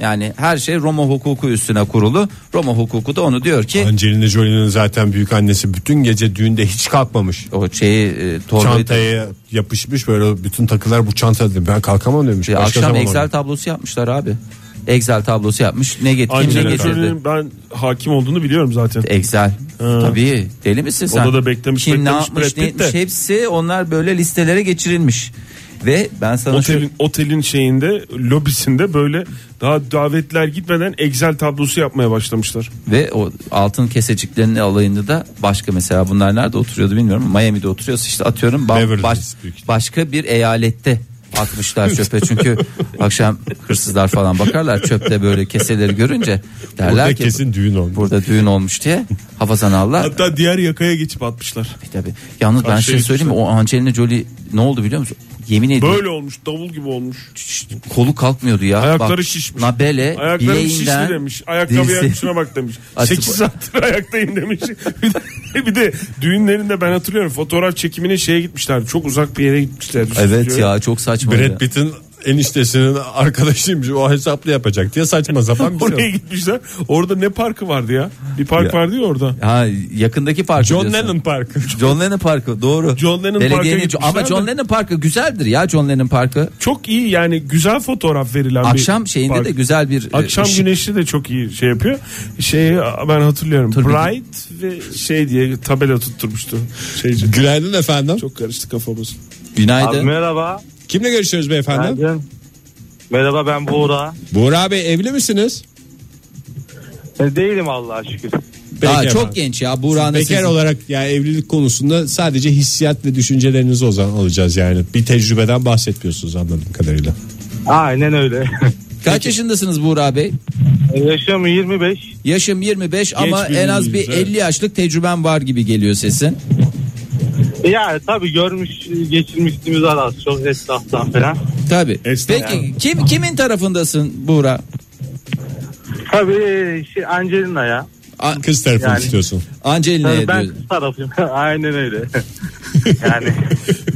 Speaker 1: Yani her şey Roma hukuku üstüne kurulu. Roma hukuku da onu diyor ki
Speaker 2: Angelina Jolie'nin zaten büyük annesi bütün gece düğünde hiç kalkmamış.
Speaker 1: o şeyi e, torbayı
Speaker 2: Çantaya yapışmış böyle bütün takılar bu çantada ben kalkamam demiş.
Speaker 1: Ya
Speaker 2: Başka
Speaker 1: akşam
Speaker 2: zaman
Speaker 1: Excel
Speaker 2: olur.
Speaker 1: tablosu yapmışlar abi. Excel tablosu yapmış. Ne getirdi?
Speaker 3: Angelina
Speaker 1: ne getirdi?
Speaker 3: Jolie'nin ben hakim olduğunu biliyorum zaten.
Speaker 1: Excel. Tabii deli misin sen?
Speaker 3: Onu da beklemiş,
Speaker 1: Kim ne
Speaker 3: beklemiş,
Speaker 1: yapmış
Speaker 3: Brad
Speaker 1: ne
Speaker 3: Pitt de.
Speaker 1: etmiş hepsi onlar böyle listelere geçirilmiş. Ve ben sana şu,
Speaker 3: Otelin, otelin şeyinde lobisinde böyle daha davetler gitmeden Excel tablosu yapmaya başlamışlar.
Speaker 1: ve o altın keseciklerinin alayında da başka mesela bunlar nerede oturuyordu bilmiyorum. Miami'de oturuyorsa işte atıyorum ba-
Speaker 2: Beverly
Speaker 1: baş-
Speaker 2: Hills büyük ihtimal.
Speaker 1: başka bir eyalette atmışlar çöpe çünkü akşam hırsızlar falan bakarlar çöpte böyle keseleri görünce derler
Speaker 2: Burada
Speaker 1: ki
Speaker 2: kesin düğün olmuş.
Speaker 1: burada düğün olmuş diye hafazan Allah
Speaker 3: Hatta diğer yakaya geçip atmışlar.
Speaker 1: Tabii. Yalnız ben
Speaker 3: Karşıya
Speaker 1: şey söyleyeyim mi? O Angelina Jolie ne oldu biliyor musun? Yemin ediyorum
Speaker 3: Böyle olmuş davul gibi olmuş.
Speaker 1: şş, kolu kalkmıyordu ya.
Speaker 3: Ayakları
Speaker 1: Bak,
Speaker 3: şişmiş.
Speaker 1: Nabele
Speaker 3: Ayaklarım
Speaker 1: Şey, bileğinden
Speaker 3: şişti demiş. Ayakkabıya
Speaker 1: dirsi-
Speaker 3: şuna bak demiş.
Speaker 1: Açık-
Speaker 3: 8 saattir ayaktayım demiş. bir, de, bir de düğünlerinde ben hatırlıyorum fotoğraf çekimine şeye gitmişler. Çok uzak bir yere gitmişler.
Speaker 1: Evet ya çok saçma.
Speaker 2: Brad
Speaker 1: ya.
Speaker 2: Pitt'in eniştesinin arkadaşıymış o hesaplı yapacak diye saçma sapan bir
Speaker 3: Oraya
Speaker 2: şey.
Speaker 3: gitmişler. Orada ne parkı vardı ya? Bir park vardı ya orada.
Speaker 1: Ha yakındaki park
Speaker 2: John
Speaker 1: diyorsun.
Speaker 2: Lennon Parkı.
Speaker 1: John Lennon Parkı doğru.
Speaker 3: John Lennon
Speaker 1: Belediyenin-
Speaker 3: Park'a
Speaker 1: ama John
Speaker 3: gitmişler de.
Speaker 1: Lennon Parkı güzeldir ya John Lennon Parkı.
Speaker 3: Çok iyi yani güzel fotoğraf verilen bir
Speaker 1: Akşam şeyinde
Speaker 3: park.
Speaker 1: de güzel bir e,
Speaker 3: Akşam
Speaker 1: ışık-
Speaker 3: güneşi de çok iyi şey yapıyor. Şey ben hatırlıyorum.
Speaker 1: Dur bir-
Speaker 3: Bright ve şey diye tabela tutturmuştu. Şeyci.
Speaker 2: Günaydın efendim.
Speaker 3: Çok karıştı kafamız.
Speaker 1: Günaydın.
Speaker 5: Abi merhaba.
Speaker 2: Kimle görüşüyoruz beyefendi?
Speaker 5: Günaydın. Merhaba ben Buğra.
Speaker 2: Buğra Bey evli misiniz?
Speaker 5: E, değilim Allah'a şükür.
Speaker 1: Daha
Speaker 2: Peki
Speaker 1: çok
Speaker 2: efendim.
Speaker 1: genç ya Buğra'nın
Speaker 2: Bekar
Speaker 1: sesi.
Speaker 2: olarak ya evlilik konusunda sadece hissiyat ve düşüncelerinizi o zaman alacağız yani. Bir tecrübeden bahsetmiyorsunuz anladığım kadarıyla.
Speaker 5: Aynen öyle.
Speaker 1: Kaç yaşındasınız Buğra Bey?
Speaker 5: E, Yaşım 25.
Speaker 1: Yaşım 25 ama
Speaker 3: bir
Speaker 1: en az bir
Speaker 3: dinleyicimiz, evet.
Speaker 1: 50 yaşlık tecrüben var gibi geliyor sesin.
Speaker 5: E, Yani tabii görmüş geçirmişliğimiz var az çok esnaftan falan.
Speaker 1: Tabii.
Speaker 3: Esnaf.
Speaker 1: Peki kim kimin tarafındasın Buğra?
Speaker 5: Tabii şey Angelina ya.
Speaker 2: Kız tarafını
Speaker 5: Yani-
Speaker 2: istiyorsun.
Speaker 1: Angelina'ya
Speaker 5: Tabii Ee, ben
Speaker 1: diyorsun.
Speaker 5: kız tarafıyım. Aynen öyle. yani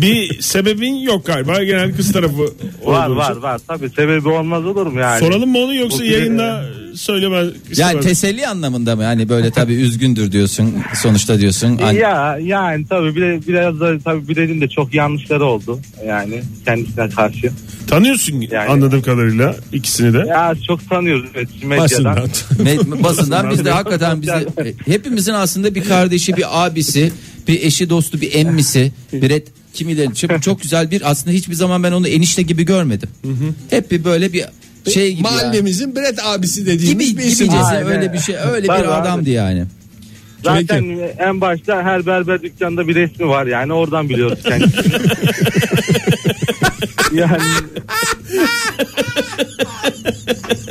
Speaker 3: Bir sebebin yok galiba. Genel kız tarafı
Speaker 5: var
Speaker 3: olduğu
Speaker 5: var
Speaker 3: için.
Speaker 5: var. Tabii sebebi olmaz olur mu yani?
Speaker 3: Soralım mı onu yoksa
Speaker 5: Bu- e,
Speaker 3: yayında söylemez.
Speaker 1: Yani
Speaker 3: istemez.
Speaker 1: teselli anlamında mı? Yani böyle tabii üzgündür diyorsun. Sonuçta diyorsun. Hani An-
Speaker 5: Ya yani tabii bile, biraz da tabii Bilal'in de çok yanlışları oldu yani kendisine karşı.
Speaker 3: Tanıyorsun
Speaker 5: Yani-
Speaker 3: anladığım kadarıyla ikisini de.
Speaker 5: Ya çok tanıyoruz evet, medyadan.
Speaker 2: Basından.
Speaker 1: Me- basından biz de hakikaten bizi
Speaker 5: Yani-
Speaker 1: hepimizin aslında bir kardeşi, bir abisi, bir eşi, dostu, bir emmisi, bir et kimileri çok, çok güzel bir aslında hiçbir zaman ben onu enişte gibi görmedim. Hep bir böyle bir şey gibi. ya.
Speaker 2: Mahallemizin Brett abisi
Speaker 1: Gibi
Speaker 2: dediğimiz bir isim.
Speaker 1: gibicesi
Speaker 5: Aynen.
Speaker 1: öyle bir şey, öyle
Speaker 5: Tabii
Speaker 1: bir
Speaker 5: abi.
Speaker 1: adamdı yani.
Speaker 5: Zaten en başta her berber dükkanında bir resmi var yani oradan biliyoruz kendisini. yani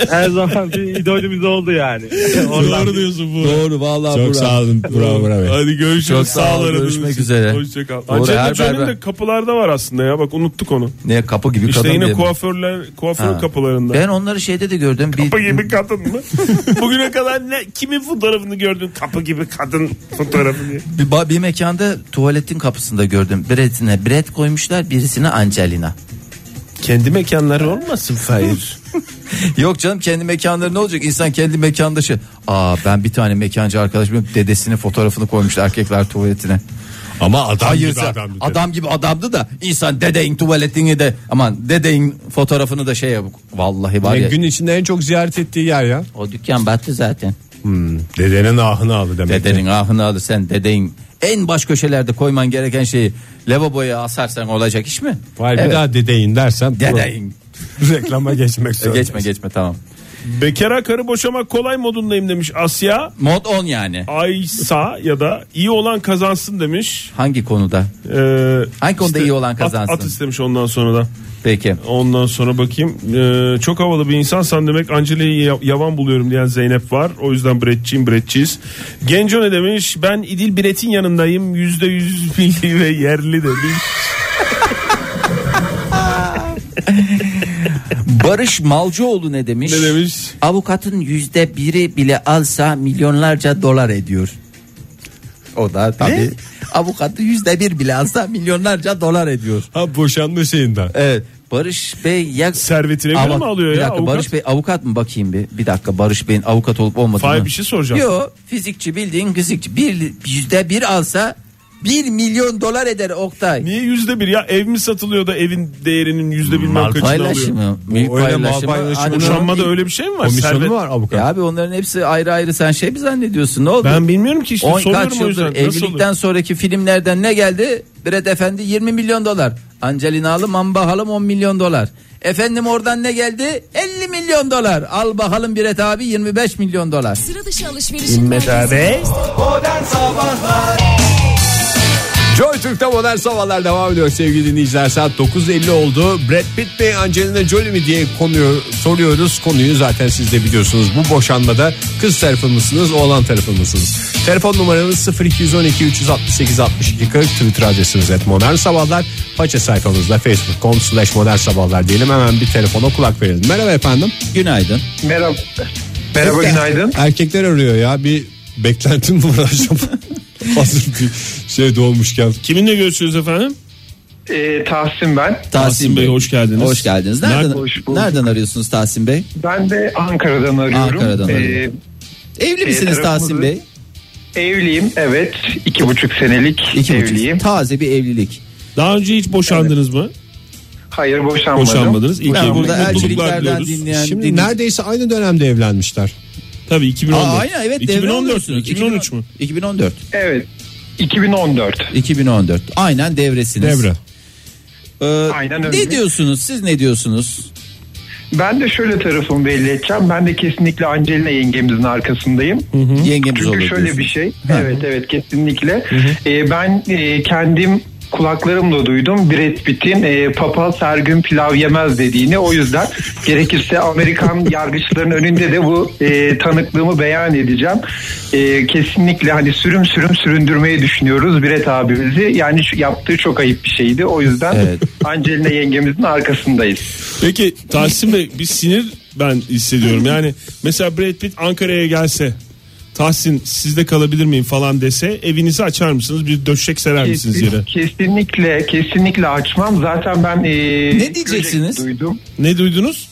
Speaker 5: her zaman bir idolümüz oldu yani. Oradan
Speaker 3: Doğru diyorsun bu.
Speaker 1: Doğru vallahi
Speaker 2: Çok
Speaker 1: Burak.
Speaker 2: sağ olun. Bravo bravo.
Speaker 3: Hadi görüşürüz.
Speaker 1: Çok sağ
Speaker 3: Sağ
Speaker 1: olun,
Speaker 3: olun.
Speaker 1: görüşmek üzere.
Speaker 3: Hoşçakal.
Speaker 1: Doğru, her
Speaker 3: Angelina Jolie'nin
Speaker 1: berber-
Speaker 3: de kapılarda var aslında ya. Bak unuttuk onu.
Speaker 1: Ne kapı gibi
Speaker 3: İşte
Speaker 1: kadın
Speaker 3: yine
Speaker 1: diye mi?
Speaker 3: kuaförler, kuaför
Speaker 1: Ha.
Speaker 3: kapılarında.
Speaker 1: Ben onları şeyde de gördüm. Bir-
Speaker 3: Kapı gibi kadın mı? Bugüne kadar ne kimin fotoğrafını gördün? Kapı gibi kadın fotoğrafı diye.
Speaker 1: Bir, ba- bir mekanda tuvaletin kapısında gördüm. Bret'ine Brett koymuşlar birisine Angelina.
Speaker 3: Kendi mekanları olmasın Fahir.
Speaker 1: Yok canım kendi mekanları ne olacak? İnsan kendi mekanında şey. Aa ben bir tane mekancı arkadaşımın dedesinin fotoğrafını koymuştu erkekler tuvaletine.
Speaker 2: Ama adam
Speaker 1: Hayır
Speaker 2: gibi
Speaker 1: adam,
Speaker 2: adamdı.
Speaker 1: adam gibi adamdı da insan dedeyin tuvaletini de aman dedeyin fotoğrafını da şey yap. Vallahi var ya.
Speaker 2: gün içinde en çok ziyaret ettiği yer ya.
Speaker 1: O dükkan battı zaten.
Speaker 2: Hmm, Dedenin ahını aldı demek. ki.
Speaker 1: Dedenin ahını alır sen dedeyin en baş köşelerde koyman gereken şeyi lavaboya asarsan olacak iş mi?
Speaker 2: Var bir
Speaker 1: Evet.
Speaker 2: daha dedeyin dersen.
Speaker 1: Dedeyin.
Speaker 2: Reklama geçmek zorunda.
Speaker 1: Geçme geçme tamam.
Speaker 3: Bekara karı boşamak kolay modundayım demiş Asya.
Speaker 1: Mod 10 yani.
Speaker 3: Aysa ya da iyi olan kazansın demiş.
Speaker 1: Hangi konuda?
Speaker 3: Ee,
Speaker 1: Hangi konuda iyi olan
Speaker 3: at-
Speaker 1: kazansın?
Speaker 3: At, istemiş ondan sonra da.
Speaker 1: Peki.
Speaker 3: Ondan sonra bakayım. Ee, çok havalı bir insansan demek Angelina'yı ya- yavan buluyorum diyen Zeynep var. O yüzden Bretçiyim Bretçiyiz. Genco ne demiş? Ben İdil Bret'in yanındayım. Yüzde yüz milli ve yerli demiş.
Speaker 1: Barış Malcıoğlu ne demiş?
Speaker 3: ne demiş?
Speaker 1: Avukatın yüzde biri bile alsa milyonlarca dolar ediyor. O da tabii. Avukatı yüzde bir bile alsa milyonlarca dolar ediyor.
Speaker 2: Ha boşanma şeyinden.
Speaker 1: Evet. Barış Bey ya
Speaker 3: Servetine göre
Speaker 1: Ama-
Speaker 3: mi alıyor
Speaker 1: bir
Speaker 3: ya
Speaker 1: dakika,
Speaker 3: avukat?
Speaker 1: Barış Bey avukat mı bakayım bir? Bir dakika Barış Bey'in avukat olup olmadığını.
Speaker 3: Fahir bir şey soracağım.
Speaker 1: Yok fizikçi bildiğin fizikçi. Bir, yüzde bir alsa 1 milyon dolar eder Oktay.
Speaker 3: Niye yüzde bir ya? Ev mi satılıyor da evin değerinin yüzde bilmem
Speaker 1: Mal
Speaker 3: kaçını alıyor?
Speaker 1: paylaşımı, mülk
Speaker 2: öyle mal
Speaker 1: paylaşımı.
Speaker 2: paylaşımı,
Speaker 1: hani
Speaker 3: Boşanmada
Speaker 1: bunun-
Speaker 3: öyle bir şey mi var?
Speaker 2: Komisyonu
Speaker 3: Servet-
Speaker 2: var avukat.
Speaker 1: Ya E abi onların hepsi ayrı ayrı sen şey mi zannediyorsun ne oldu?
Speaker 3: Ben bilmiyorum ki işte
Speaker 1: 10
Speaker 3: soruyorum
Speaker 1: kaç
Speaker 3: o
Speaker 1: yıldır
Speaker 3: yüzden. Nasıl
Speaker 1: evlilikten
Speaker 3: oluyor?
Speaker 1: sonraki filmlerden ne geldi? Brad Efendi 20 milyon dolar. Angelina Hanım aman bakalım 10 milyon dolar. Efendim oradan ne geldi? 50 milyon dolar. Al bakalım Brad abi 25 milyon dolar.
Speaker 6: Sıra dışı alışverişin merkezi.
Speaker 2: Joy Türk'te modern sabahlar devam ediyor sevgili dinleyiciler. Saat 9.50 oldu. Brad Pitt mi Angelina Jolie mi diye konuyu soruyoruz. Konuyu zaten siz de biliyorsunuz. Bu boşanmada kız tarafı mısınız oğlan tarafı mısınız? Telefon numaramız 0212 368 62 40 Twitter adresimiz et modern sabahlar. Paça sayfamızda facebook.com slash modern sabahlar diyelim. Hemen bir telefona kulak verelim. Merhaba efendim.
Speaker 1: Günaydın.
Speaker 7: Merhaba. Merhaba günaydın.
Speaker 2: Erkekler arıyor ya bir beklentim mi var acaba? Hazır bir şey dolmuşken.
Speaker 3: Kiminle görüşüyoruz efendim?
Speaker 7: Ee, Tahsin ben.
Speaker 1: Tahsin Bey
Speaker 3: hoş geldiniz.
Speaker 1: Hoş geldiniz. Nereden,
Speaker 7: Hoş bulduk.
Speaker 1: nereden arıyorsunuz Tahsin Bey?
Speaker 7: Ben de Ankara'dan arıyorum. Ee,
Speaker 1: Ankara'dan arıyorum. Evli misiniz
Speaker 7: tarafımızı-
Speaker 1: Tahsin Bey?
Speaker 7: Ee, evliyim evet. iki buçuk senelik
Speaker 1: İki buçuk.
Speaker 7: evliyim.
Speaker 1: Taze bir evlilik.
Speaker 3: Daha önce hiç boşandınız mı?
Speaker 7: Hayır boşanmadım.
Speaker 3: Boşanmadınız. İlk
Speaker 1: Ben
Speaker 3: evlilik
Speaker 1: burada
Speaker 3: mutluluklar
Speaker 1: elçiliklerden
Speaker 3: diliyoruz.
Speaker 1: dinleyen
Speaker 2: Şimdi
Speaker 1: dinleyici-
Speaker 2: neredeyse aynı dönemde evlenmişler.
Speaker 3: Tabii 2014.
Speaker 1: Aa, aynen evet. devre
Speaker 3: 2014 mü?
Speaker 1: alıyorsunuz.
Speaker 3: 2013 mü?
Speaker 1: 2014.
Speaker 7: Evet. 2014.
Speaker 1: 2014. Aynen devresiniz.
Speaker 2: Devre.
Speaker 1: Ee,
Speaker 7: Aynen
Speaker 1: Ne
Speaker 7: öyle.
Speaker 1: diyorsunuz? Siz ne diyorsunuz?
Speaker 7: Ben de şöyle tarafımı belli edeceğim. Ben de kesinlikle Angelina yengemizin arkasındayım.
Speaker 1: Yengemiz
Speaker 7: Çünkü
Speaker 1: olur
Speaker 7: şöyle
Speaker 1: diyorsunuz.
Speaker 7: bir şey. Evet evet kesinlikle. Ee, ben e, kendim kulaklarımla duydum Brad Pitt'in e, papaz her gün pilav yemez dediğini. O yüzden gerekirse Amerikan yargıçların önünde de bu e, tanıklığımı beyan edeceğim. E, kesinlikle hani sürüm sürüm süründürmeyi düşünüyoruz Brad abimizi. Yani şu, yaptığı çok ayıp bir şeydi. O yüzden
Speaker 1: Evet.
Speaker 7: Angelina yengemizin arkasındayız.
Speaker 3: Peki Tahsin Bey bir sinir ben hissediyorum. Yani mesela Brad Pitt Ankara'ya gelse Tahsin sizde kalabilir miyim falan dese evinizi açar mısınız? Bir döşek serer misiniz
Speaker 7: Kesin-
Speaker 3: yere?
Speaker 7: Kesinlikle kesinlikle açmam. Zaten ben e, Göcek
Speaker 1: diyeceksiniz?
Speaker 7: duydum.
Speaker 3: Ne duydunuz?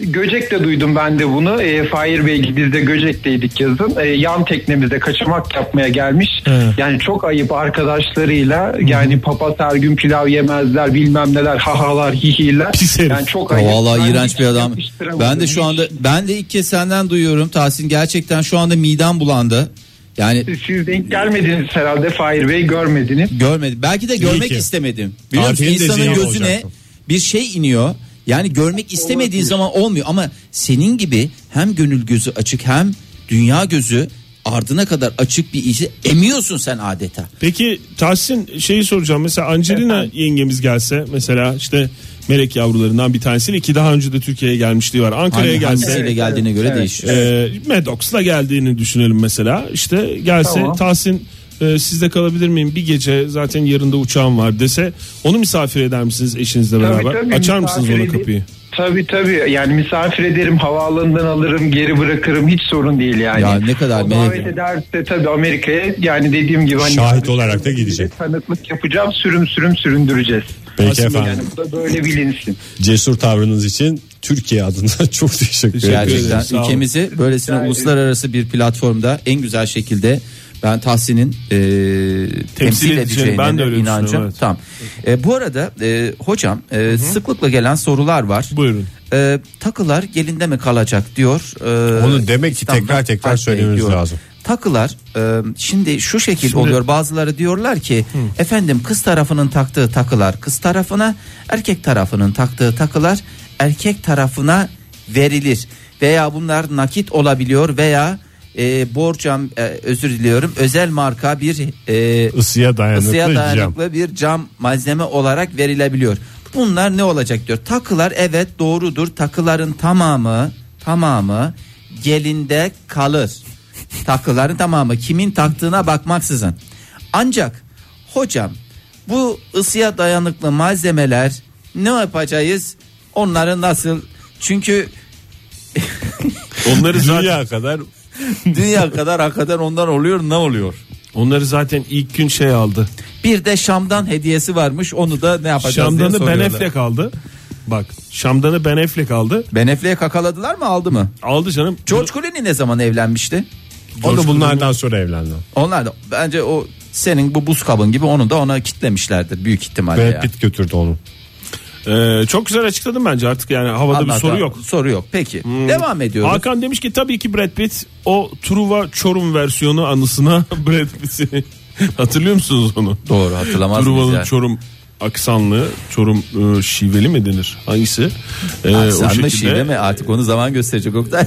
Speaker 7: Göcek'te duydum ben de bunu. E, Fahir Bey biz de Göcek'teydik yazın. E, yan teknemizde kaçamak yapmaya gelmiş.
Speaker 3: He.
Speaker 7: Yani çok ayıp arkadaşlarıyla. Yani papaz her gün pilav yemezler bilmem neler hahalar hihiler.
Speaker 3: Pis herif.
Speaker 7: Yani çok
Speaker 1: Ya
Speaker 7: ayıp.
Speaker 1: Vallahi
Speaker 7: Ben
Speaker 1: iğrenç
Speaker 7: hiç
Speaker 1: bir adam.
Speaker 7: yakıştıramadım.
Speaker 1: Ben de şu
Speaker 7: Hiç.
Speaker 1: anda ben de ilk kez senden duyuyorum Tahsin. Gerçekten şu anda midem bulandı. Yani
Speaker 7: Siz denk gelmediniz herhalde Fahir Bey görmediniz.
Speaker 1: görmedim. Belki de görmek
Speaker 2: ki.
Speaker 1: istemedim. Biliyor musun?
Speaker 2: Tatilin de
Speaker 1: insanın
Speaker 2: ziyan
Speaker 1: gözüne
Speaker 2: olacaktı.
Speaker 1: bir şey iniyor. Yani görmek istemediğin zaman olmuyor ama senin gibi hem gönül gözü açık hem dünya gözü ardına kadar açık bir işi emiyorsun sen adeta.
Speaker 3: Peki Tahsin şeyi soracağım mesela Angelina yengemiz gelse mesela işte melek yavrularından bir tanesiyle ki daha önce de Türkiye'ye gelmişliği var Ankara'ya
Speaker 1: Hangi,
Speaker 3: gelse
Speaker 1: hangisiyle geldiğine göre değişiyor.
Speaker 3: e, Maddox'la geldiğini düşünelim mesela işte gelse
Speaker 7: Tamam.
Speaker 3: Tahsin e, sizde kalabilir miyim bir gece zaten yarın da uçağım var dese onu misafir eder misiniz eşinizle
Speaker 7: Tabii,
Speaker 3: beraber
Speaker 7: tabii,
Speaker 3: açar mısınız
Speaker 7: misafir
Speaker 3: ona
Speaker 7: edeyim.
Speaker 3: kapıyı
Speaker 7: Tabii tabii yani misafir ederim havaalanından alırım geri bırakırım hiç sorun değil yani.
Speaker 1: Ya ne kadar
Speaker 7: O
Speaker 1: melek
Speaker 7: davet
Speaker 1: ya.
Speaker 7: ederse tabii Amerika'ya yani dediğim gibi. Hani
Speaker 2: Şahit olarak da gidecek.
Speaker 7: Tanıklık yapacağım sürüm sürüm süründüreceğiz.
Speaker 2: Peki
Speaker 3: Aslında
Speaker 2: efendim.
Speaker 7: Yani bu da böyle bilinsin.
Speaker 2: Cesur tavrınız için Türkiye adına çok teşekkür ederim.
Speaker 1: Gerçekten
Speaker 3: ederim, sağ olun.
Speaker 1: ülkemizi böylesine
Speaker 7: ederim.
Speaker 1: uluslararası bir platformda en güzel şekilde ben Tahsin'in e, temsil,
Speaker 3: edeceğini
Speaker 1: edeceğine
Speaker 3: ben de öyle
Speaker 1: inancım.
Speaker 3: düşünüyorum, evet.
Speaker 1: Tam. E, bu arada e, hocam e, sıklıkla gelen sorular var.
Speaker 3: buyurun
Speaker 1: E, takılar gelinde mi kalacak diyor. E,
Speaker 2: Onu demek ki
Speaker 1: İstanbul
Speaker 2: tekrar tekrar
Speaker 1: Park Bey
Speaker 2: söylememiz
Speaker 1: diyor.
Speaker 2: lazım.
Speaker 1: Takılar e, şimdi şu şekil
Speaker 3: Şimdi-
Speaker 1: oluyor bazıları diyorlar ki efendim kız tarafının taktığı takılar kız tarafına erkek tarafının taktığı takılar erkek tarafına verilir veya bunlar nakit olabiliyor veya e, borcam e, özür diliyorum özel marka bir e,
Speaker 2: Isıya dayanıklı
Speaker 1: ısıya
Speaker 2: cam.
Speaker 1: dayanıklı bir cam malzeme olarak verilebiliyor. Bunlar ne olacak diyor. Takılar evet doğrudur. Takıların tamamı tamamı gelinde kalır. Takıların tamamı kimin taktığına bakmaksızın. Ancak hocam bu ısıya dayanıklı malzemeler ne yapacağız? Onları nasıl? Çünkü
Speaker 3: onları zaten
Speaker 2: Dünya kadar
Speaker 1: dünya kadar hakikaten ondan oluyor ne oluyor?
Speaker 3: onları zaten ilk gün şey aldı
Speaker 1: Bir de Şam'dan hediyesi varmış. Onu da ne yapacağız diye
Speaker 3: Şamdan'ı Ben
Speaker 1: soruyorlar.
Speaker 3: Affleck aldı. Bak Şamdan'ı Ben Affleck aldı.
Speaker 1: Ben Affleck'e kakaladılar mı aldı mı?
Speaker 3: Aldı canım.
Speaker 1: George Clooney ne zaman evlenmişti?
Speaker 2: o da bunlardan sonra evlendi.
Speaker 1: Onlar da bence o senin bu buz kabın gibi onu da ona kitlemişlerdir büyük ihtimalle.
Speaker 2: Brad
Speaker 1: ya.
Speaker 2: Pitt götürdü onu.
Speaker 3: Ee, çok güzel açıkladım bence artık yani havada
Speaker 1: Anlat
Speaker 3: bir soru
Speaker 1: abi,
Speaker 3: yok. Hmm.
Speaker 1: Soru yok. Peki. Devam ediyoruz.
Speaker 3: Hakan demiş ki tabii ki Brad Pitt o Truva Çorum versiyonu anısına Brad Pitt'i hatırlıyor musunuz onu?
Speaker 1: Doğru hatırlamaz mıyız
Speaker 3: Truva'nın
Speaker 1: ya?
Speaker 3: Çorum aksanlı Çorum e, şiveli mi denir? Hangisi? Ee, o
Speaker 1: Sen
Speaker 3: şekilde-
Speaker 1: de şive mi? Artık onu zaman gösterecek Oktay.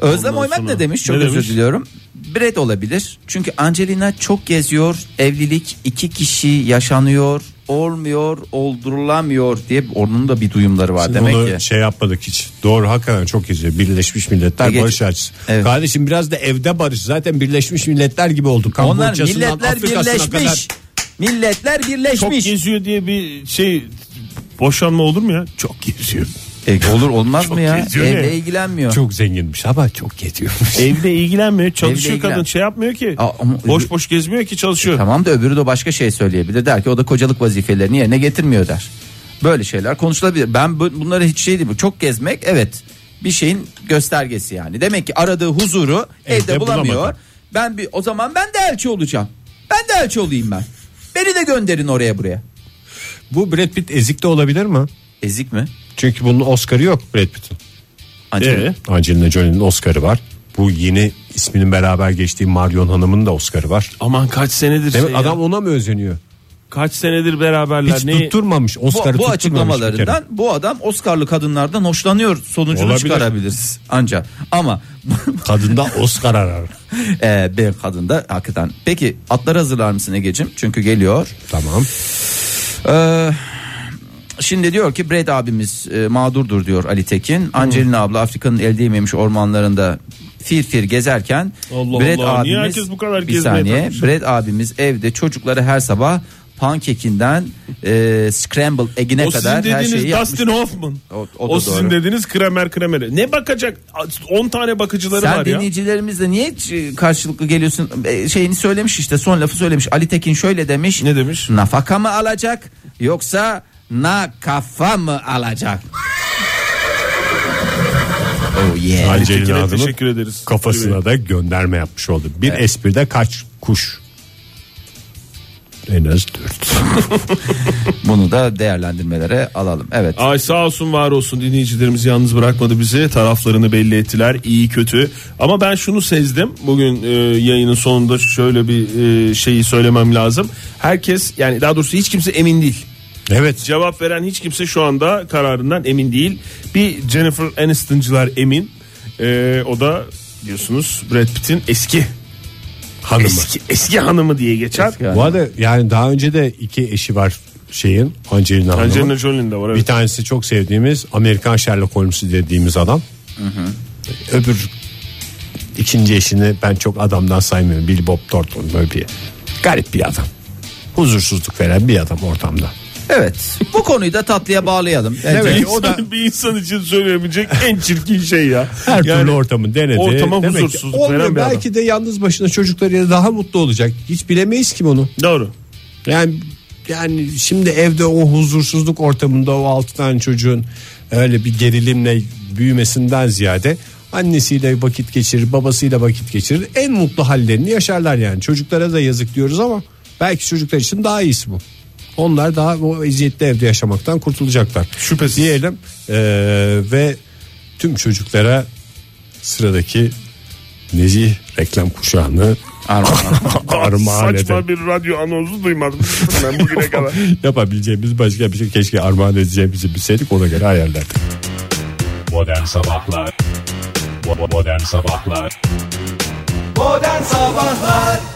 Speaker 1: Özlem
Speaker 3: Ondan
Speaker 1: Oymet
Speaker 3: sonra-
Speaker 1: ne demiş? Çok
Speaker 3: Ne
Speaker 1: özür
Speaker 3: demiş?
Speaker 1: diliyorum. Brad olabilir. Çünkü Angelina çok geziyor. Evlilik iki kişi yaşanıyor. Olmuyor, oldurulamıyor diye onun da bir duyumları var demek
Speaker 2: onu
Speaker 1: ki.
Speaker 2: şey yapmadık hiç. Doğru hakikaten çok iyi. Birleşmiş Milletler
Speaker 1: Ha, geç-
Speaker 2: barış açısı.
Speaker 1: Evet.
Speaker 2: Kardeşim biraz da evde barış. Zaten Birleşmiş Milletler gibi olduk.
Speaker 1: Onlar
Speaker 2: Kamboçya'sından
Speaker 1: milletler
Speaker 2: Afrika'sına
Speaker 1: birleşmiş.
Speaker 2: kadar-
Speaker 1: Milletler
Speaker 3: Çok
Speaker 1: birleşmiş.
Speaker 3: geziyor diye bir şey boşanma olur mu ya? Çok geziyor.
Speaker 1: E, olur olmaz
Speaker 3: Çok
Speaker 1: mı ya?
Speaker 3: geziyor
Speaker 1: Evle
Speaker 3: ne?
Speaker 1: ilgilenmiyor.
Speaker 2: Çok zenginmiş ama çok yetiyormuş.
Speaker 3: Evde ilgilenmiyor. Çalışıyor
Speaker 1: Evde ilgilen-
Speaker 3: kadın şey yapmıyor ki.
Speaker 1: Aa, ama- E,
Speaker 3: boş boş gezmiyor ki çalışıyor.
Speaker 1: Tamam da öbürü de başka şey söyleyebilir. Der ki o da kocalık vazifelerini yerine getirmiyor der. Böyle şeyler konuşulabilir. Ben bu- bunları hiç şey değil. Çok gezmek evet bir şeyin göstergesi yani. Demek ki aradığı huzuru evde,
Speaker 2: Evde
Speaker 1: bulamıyor.
Speaker 2: bulamadı.
Speaker 1: Ben bir o zaman ben de elçi olacağım. Ben de elçi olayım ben. Beni de gönderin oraya buraya.
Speaker 2: Bu Brad Pitt ezik de olabilir mi?
Speaker 1: Ezik mi?
Speaker 2: Çünkü bunun Oscar'ı yok Brad Pitt'in.
Speaker 1: Acaba?
Speaker 3: Ee?
Speaker 2: Angelina Jolie'nin Oscar'ı var. Bu yeni isminin beraber geçtiği Marion Hanım'ın da Oscar'ı var.
Speaker 3: Aman kaç senedir
Speaker 2: Değil mi?
Speaker 3: şey ya.
Speaker 2: Adam ona mı özeniyor?
Speaker 3: kaç senedir beraberler.
Speaker 2: Hiç
Speaker 3: Neyi-
Speaker 2: tutturmamış
Speaker 1: Bu,
Speaker 2: Oscar'ı
Speaker 1: bu
Speaker 2: tutturmamış bir kere.
Speaker 1: açıklamalarından bu adam Oscar'lı kadınlardan hoşlanıyor sonucunu
Speaker 2: Olabilir.
Speaker 1: çıkarabiliriz ancak. Ama
Speaker 2: Kadında Oscar arar.
Speaker 1: Ee, bir kadın da hakikaten. Peki atları hazırlar mısın Ege'cim? Çünkü geliyor.
Speaker 2: Tamam.
Speaker 1: Ee, şimdi diyor ki Brad abimiz e, mağdurdur diyor Ali Tekin. Angelina abla Afrika'nın elde yememiş ormanlarında fir fir gezerken
Speaker 3: Allah
Speaker 1: Brad
Speaker 3: Allah,
Speaker 1: abimiz
Speaker 3: niye herkes bu kadar
Speaker 1: bir
Speaker 3: gezmeye
Speaker 1: saniye
Speaker 3: takmış?
Speaker 1: Brad abimiz evde çocukları her sabah pankekinden e, scramble egg'ine
Speaker 3: o sizin
Speaker 1: kadar her
Speaker 3: dediğiniz
Speaker 1: şeyi yapmış.
Speaker 3: Dustin Hoffman.
Speaker 1: O- o
Speaker 3: O,
Speaker 1: da
Speaker 3: sizin
Speaker 1: doğru.
Speaker 3: dediğiniz Kramer Kramer'i. Ne bakacak? 10 tane bakıcıları
Speaker 1: Sen
Speaker 3: var ya.
Speaker 1: dinleyicilerimizle niye e, karşılıklı geliyorsun? E, Şeyini söylemiş işte son lafı söylemiş. Ali Tekin şöyle demiş.
Speaker 3: Ne demiş?
Speaker 1: Nafaka mı alacak yoksa nakafa mı alacak? oh yeah.
Speaker 2: Ali
Speaker 3: Tekin'e
Speaker 2: Tekin'e
Speaker 3: teşekkür ederiz.
Speaker 2: Kafasına da gönderme yapmış oldu. Bir espride kaç kuş? En az dört.
Speaker 1: Bunu da değerlendirmelere alalım. Evet.
Speaker 3: Ay sağ olsun var olsun dinleyicilerimiz yalnız bırakmadı bizi. Taraflarını belli ettiler iyi kötü. Ama ben şunu sezdim. Bugün e, yayının sonunda şöyle bir e, şeyi söylemem lazım. Herkes yani daha doğrusu hiç kimse emin değil.
Speaker 2: evet.
Speaker 3: Cevap veren hiç kimse şu anda kararından emin değil. Bir Jennifer Aniston'cılar emin. Ee, o da biliyorsunuz Brad Pitt'in eski
Speaker 2: Hanımı.
Speaker 3: eski eski hanımı diye geçer.
Speaker 1: Eski hanımı.
Speaker 2: Bu arada yani daha önce de iki eşi var şeyin Angelina Hanım'ın.
Speaker 3: Angelina Jolie'nin de var
Speaker 2: Bir
Speaker 3: evet.
Speaker 2: tanesi çok sevdiğimiz Amerikan Sherlock Holmes dediğimiz adam. Öbür ikinci eşini ben çok adamdan saymıyorum. Bill Bob Thornton böyle bir garip bir adam. Huzursuzluk veren bir adam ortamda.
Speaker 1: Evet. Bu konuyu da tatlıya bağlayalım. Bence.
Speaker 2: Evet.
Speaker 3: İnsan-
Speaker 2: o da-
Speaker 3: bir insan için söyleyebilecek en çirkin şey ya.
Speaker 2: Her türlü ortamı denedi.
Speaker 3: ortama
Speaker 2: Demek ki
Speaker 3: huzursuzluk
Speaker 2: olmuyor.
Speaker 3: veren bir adam.
Speaker 2: Belki de yalnız başına çocuklarıyla daha mutlu olacak. Hiç bilemeyiz ki bunu.
Speaker 3: Doğru.
Speaker 2: Yani yani şimdi evde o huzursuzluk ortamında o altı tane çocuğun öyle bir gerilimle büyümesinden ziyade annesiyle vakit geçirir, babasıyla vakit geçirir. En mutlu hallerini yaşarlar yani. Çocuklara da yazık diyoruz ama belki çocuklar için daha iyisi bu. Onlar daha o eziyetli evde yaşamaktan kurtulacaklar.
Speaker 3: Şüphesiz.
Speaker 2: Diyelim eee, ve tüm çocuklara sıradaki nezih reklam kuşağını armağan edelim.
Speaker 3: Saçma bir radyo anonsu duymadım ben bugüne kadar.
Speaker 2: yapabileceğimiz başka bir şey keşke armağan edeceğimizi bilseydik ona göre ayarlardık.
Speaker 8: Modern Sabahlar Bo- bo- Modern Sabahlar
Speaker 9: Modern Sabahlar